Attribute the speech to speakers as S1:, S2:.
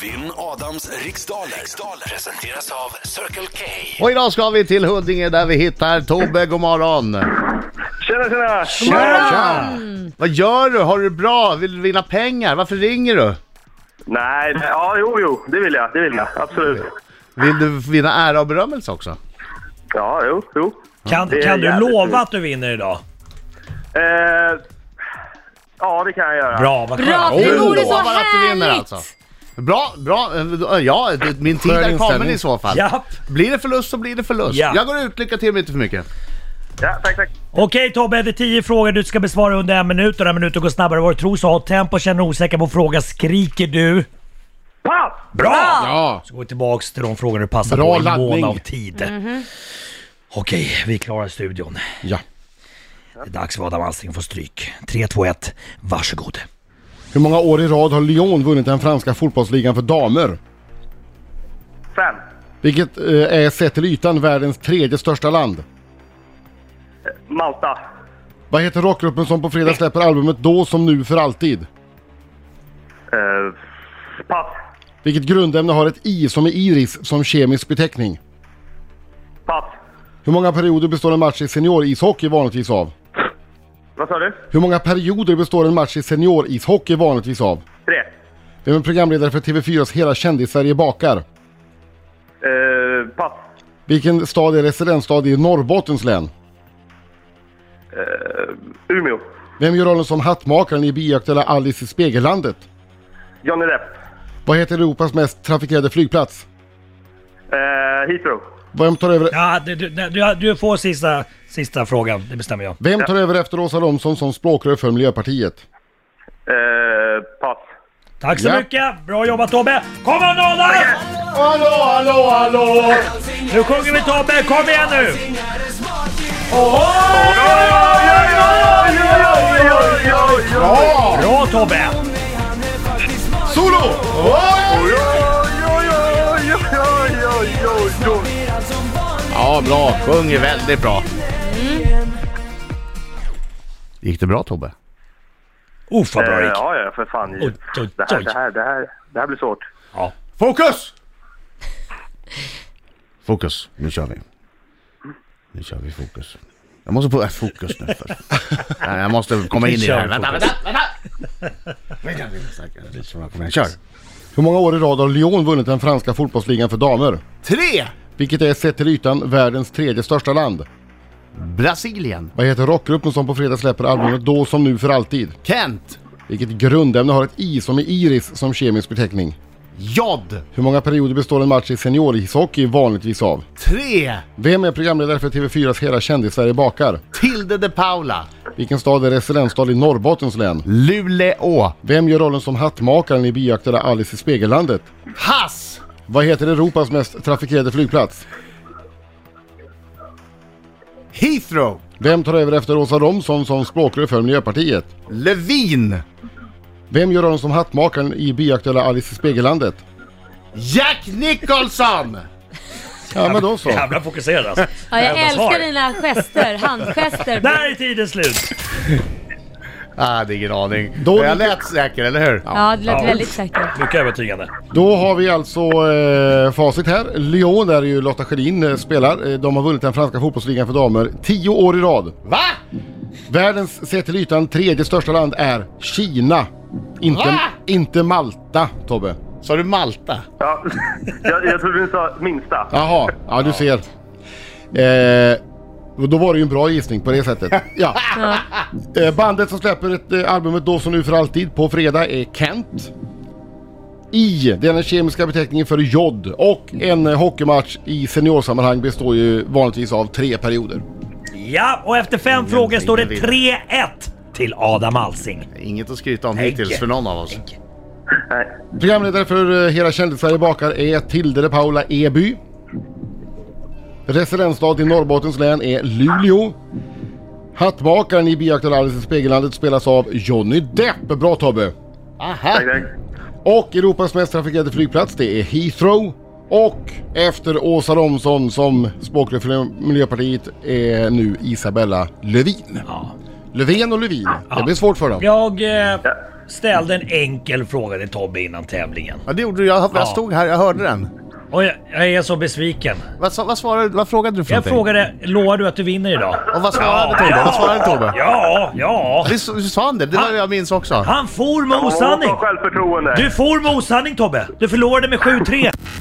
S1: Vinn Adams riksdaler. riksdaler presenteras av Circle K.
S2: Och idag ska vi till Huddinge där vi hittar Tobbe, god morgon.
S3: Tjena, tjena!
S2: Tja! Vad gör du? Har du det bra? Vill du vinna pengar? Varför ringer du?
S3: Nej, nej, ja, jo, jo, det vill jag. Det vill jag. Absolut.
S2: Vill du vinna ära och berömmelse också?
S3: Ja, jo, jo.
S4: Kan,
S3: Det är
S4: kan du
S3: jävligt
S4: lova
S3: kul.
S4: att du vinner idag?
S3: Eh, ja, det kan jag göra.
S4: Bra, vad
S5: Bra,
S4: skönt.
S5: det
S2: Oh,
S5: vore så
S2: lovar att du vinner,
S5: härligt!
S2: alltså. Bra, bra. Eh, Ja, det- min tid är kommen i så fall.
S4: Japp.
S2: Blir det förlust så blir det förlust.
S4: Ja.
S2: Jag går ut, lycka till men inte för mycket.
S3: Ja, tack, tack.
S4: Okej Tobbe, det är 10 frågor du ska besvara under en minut och den här minuten går snabbare än vad du tror. Så håll tempo, känner du osäker på fråga skriker du.
S3: Pass!
S4: Bra!
S6: Ja,
S4: Så gå tillbaks till de frågor du passar
S6: Bra
S4: på i mån
S6: laddning.
S4: av tid. Okej, vi klarar studion.
S6: ja.
S4: Det är dags för Adam Alsing att få stryk. 3, 2, 1, varsågod.
S6: Hur många år i rad har Lyon vunnit den franska fotbollsligan för damer?
S3: Fem.
S6: Vilket eh, är sett till ytan världens tredje största land.
S3: Malta.
S6: Vad heter rockgruppen som på fredag släpper albumet Då som nu för alltid?
S3: Eh, pass.
S6: Vilket grundämne har ett I som är iris som kemisk beteckning?
S3: Pass.
S6: Hur många perioder består en match i seniorishockey vanligtvis av?
S3: Vad sa du?
S6: Hur många perioder består en match i seniorishockey vanligtvis av?
S3: Tre.
S6: Vem är programledare för TV4s Hela kändis-Sverige bakar?
S3: Eh, pass.
S6: Vilken stad är residensstad i Norrbottens län?
S3: Umeå.
S6: Vem gör rollen som hattmakaren i biaktuella Alice i Spegellandet?
S3: Johnny Depp.
S6: Vad heter Europas mest trafikerade flygplats?
S3: Eh, Heathrow.
S6: Vem tar över,
S4: Ja, du, du, du, du får sista, sista frågan, det bestämmer jag.
S6: vem tar över efter Åsa Romson som språkrör för Miljöpartiet?
S3: Eh, pass.
S4: Tack så
S6: Ja.
S4: mycket! Bra jobbat Tobbe! Kom igen nu Adam!
S6: Hallå, hallå, hallå!
S4: Nu sjunger vi Tobbe, kom igen nu!
S6: Bra!
S4: Bra Tobbe!
S6: Solo!
S2: Ja, bra. Sjunger väldigt bra.
S5: Mm.
S2: Gick det bra Tobbe?
S4: Uff vad bra
S3: Eh,
S4: det gick.
S3: ja, ja, för fan.
S4: Oj, oj,
S3: Det här,
S4: oj.
S3: det här, det här, det här blir svårt.
S2: Fokus! Fokus, nu kör vi. Nu kör vi fokus. Jag måste på äh, fokus nu först. Nej, Jag måste komma in i det här.
S4: Kör,
S2: Vänta, vänta, vänta! Kom igen, Kör!
S6: Hur många år i rad har Lyon vunnit den franska fotbollsligan för damer?
S2: Tre!
S6: Vilket är sett till ytan världens tredje största land.
S2: Brasilien.
S6: Vad heter rockgruppen som på fredag släpper albumet Då som nu för alltid?
S2: Kent.
S6: Vilket grundämne har ett I som är iris som kemisk beteckning?
S2: Jod.
S6: Hur många perioder består en match i seniorishockey vanligtvis av?
S2: Tre.
S6: Vem är programledare för TV4s Hela kändis-Sverige bakar?
S2: Tilde de Paula.
S6: Vilken stad är residensstad i Norrbottens län?
S2: Luleå.
S6: Vem gör rollen som hattmakaren i biaktuella Alice i Spegellandet?
S2: Hass.
S6: Vad heter Europas mest trafikerade flygplats?
S2: Heathrow.
S6: Vem tar över efter Åsa Romson som språkrör för Miljöpartiet?
S2: Levin.
S6: Vem gör rollen som hattmakaren i biaktuella Alice i Spegellandet?
S2: Jack Nicholson.
S6: Ja men då så.
S4: Jävla fokuserad alltså.
S5: Ja, jag
S4: Jävla svar.
S5: älskar dina gester, handgester.
S4: Där är tiden slut!
S2: Ah, det är ingen aning.
S6: Då-
S2: Men jag lät säker, eller hur?
S5: Ja, det lät
S4: Ja.
S5: väldigt säkert.
S4: Mycket övertygande.
S6: Då har vi alltså eh, facit här. Lyon där ju Lotta Schelin eh, spelar. Eh, De har vunnit den franska fotbollsligan för damer tio år i rad.
S2: Va?
S6: Världens sett till ytan tredje största land är Kina. Inte,
S2: Va?
S6: inte Malta, Tobbe.
S2: Sa du Malta?
S3: Ja, jag, jag trodde du sa minsta.
S6: Jaha, ja du ser. Eh, och då var det ju en bra gissning på det sättet. Ja. Eh, bandet som släpper ett, eh, albumet Då som nu för alltid på fredag är Kent. I, det är den kemiska beteckningen för jod och en eh, hockeymatch i seniorsammanhang består ju vanligtvis av tre perioder.
S4: Ja, och efter fem frågor står det 3-1 till Adam Alsing.
S2: Inget att skryta om
S4: Nej.
S2: hittills för någon av oss.
S6: Programledare för eh, Hela kändis-Sverige bakar är Tilde de Paula Eby. Residensstad i Norrbottens län är Luleå. Hattmakaren i Biaktuell Alice i Spegellandet spelas av Johnny Depp. Bra Tobbe!
S2: Aha.
S3: Tack, tack.
S6: Och Europas mest trafikerade flygplats det är Heathrow. Och efter Åsa Romson som språkrör för Miljöpartiet är nu Isabella Lövin.
S4: Ja.
S6: Löfven och Lövin, det blir svårt för dem.
S4: Jag eh, ställde en enkel fråga till Tobbe innan tävlingen.
S2: Ja, det gjorde du. Jag,
S4: Ja.
S2: jag stod här, jag hörde den.
S4: Och jag, jag är så besviken.
S2: Vad, sa- vad, svarade, vad frågade du för
S4: Jag
S2: någonting?
S4: frågade, lovar du att du vinner idag?
S2: Och vad svarade Tobbe? Vad svarade Tobbe?
S4: Ja, ja.
S2: Visst visst sa han det? Det var det jag minns också.
S4: Han for med
S3: Man måste
S4: osanning.
S3: ha självförtroende.
S4: Du for med osanning Tobbe. Du förlorade med 7-3.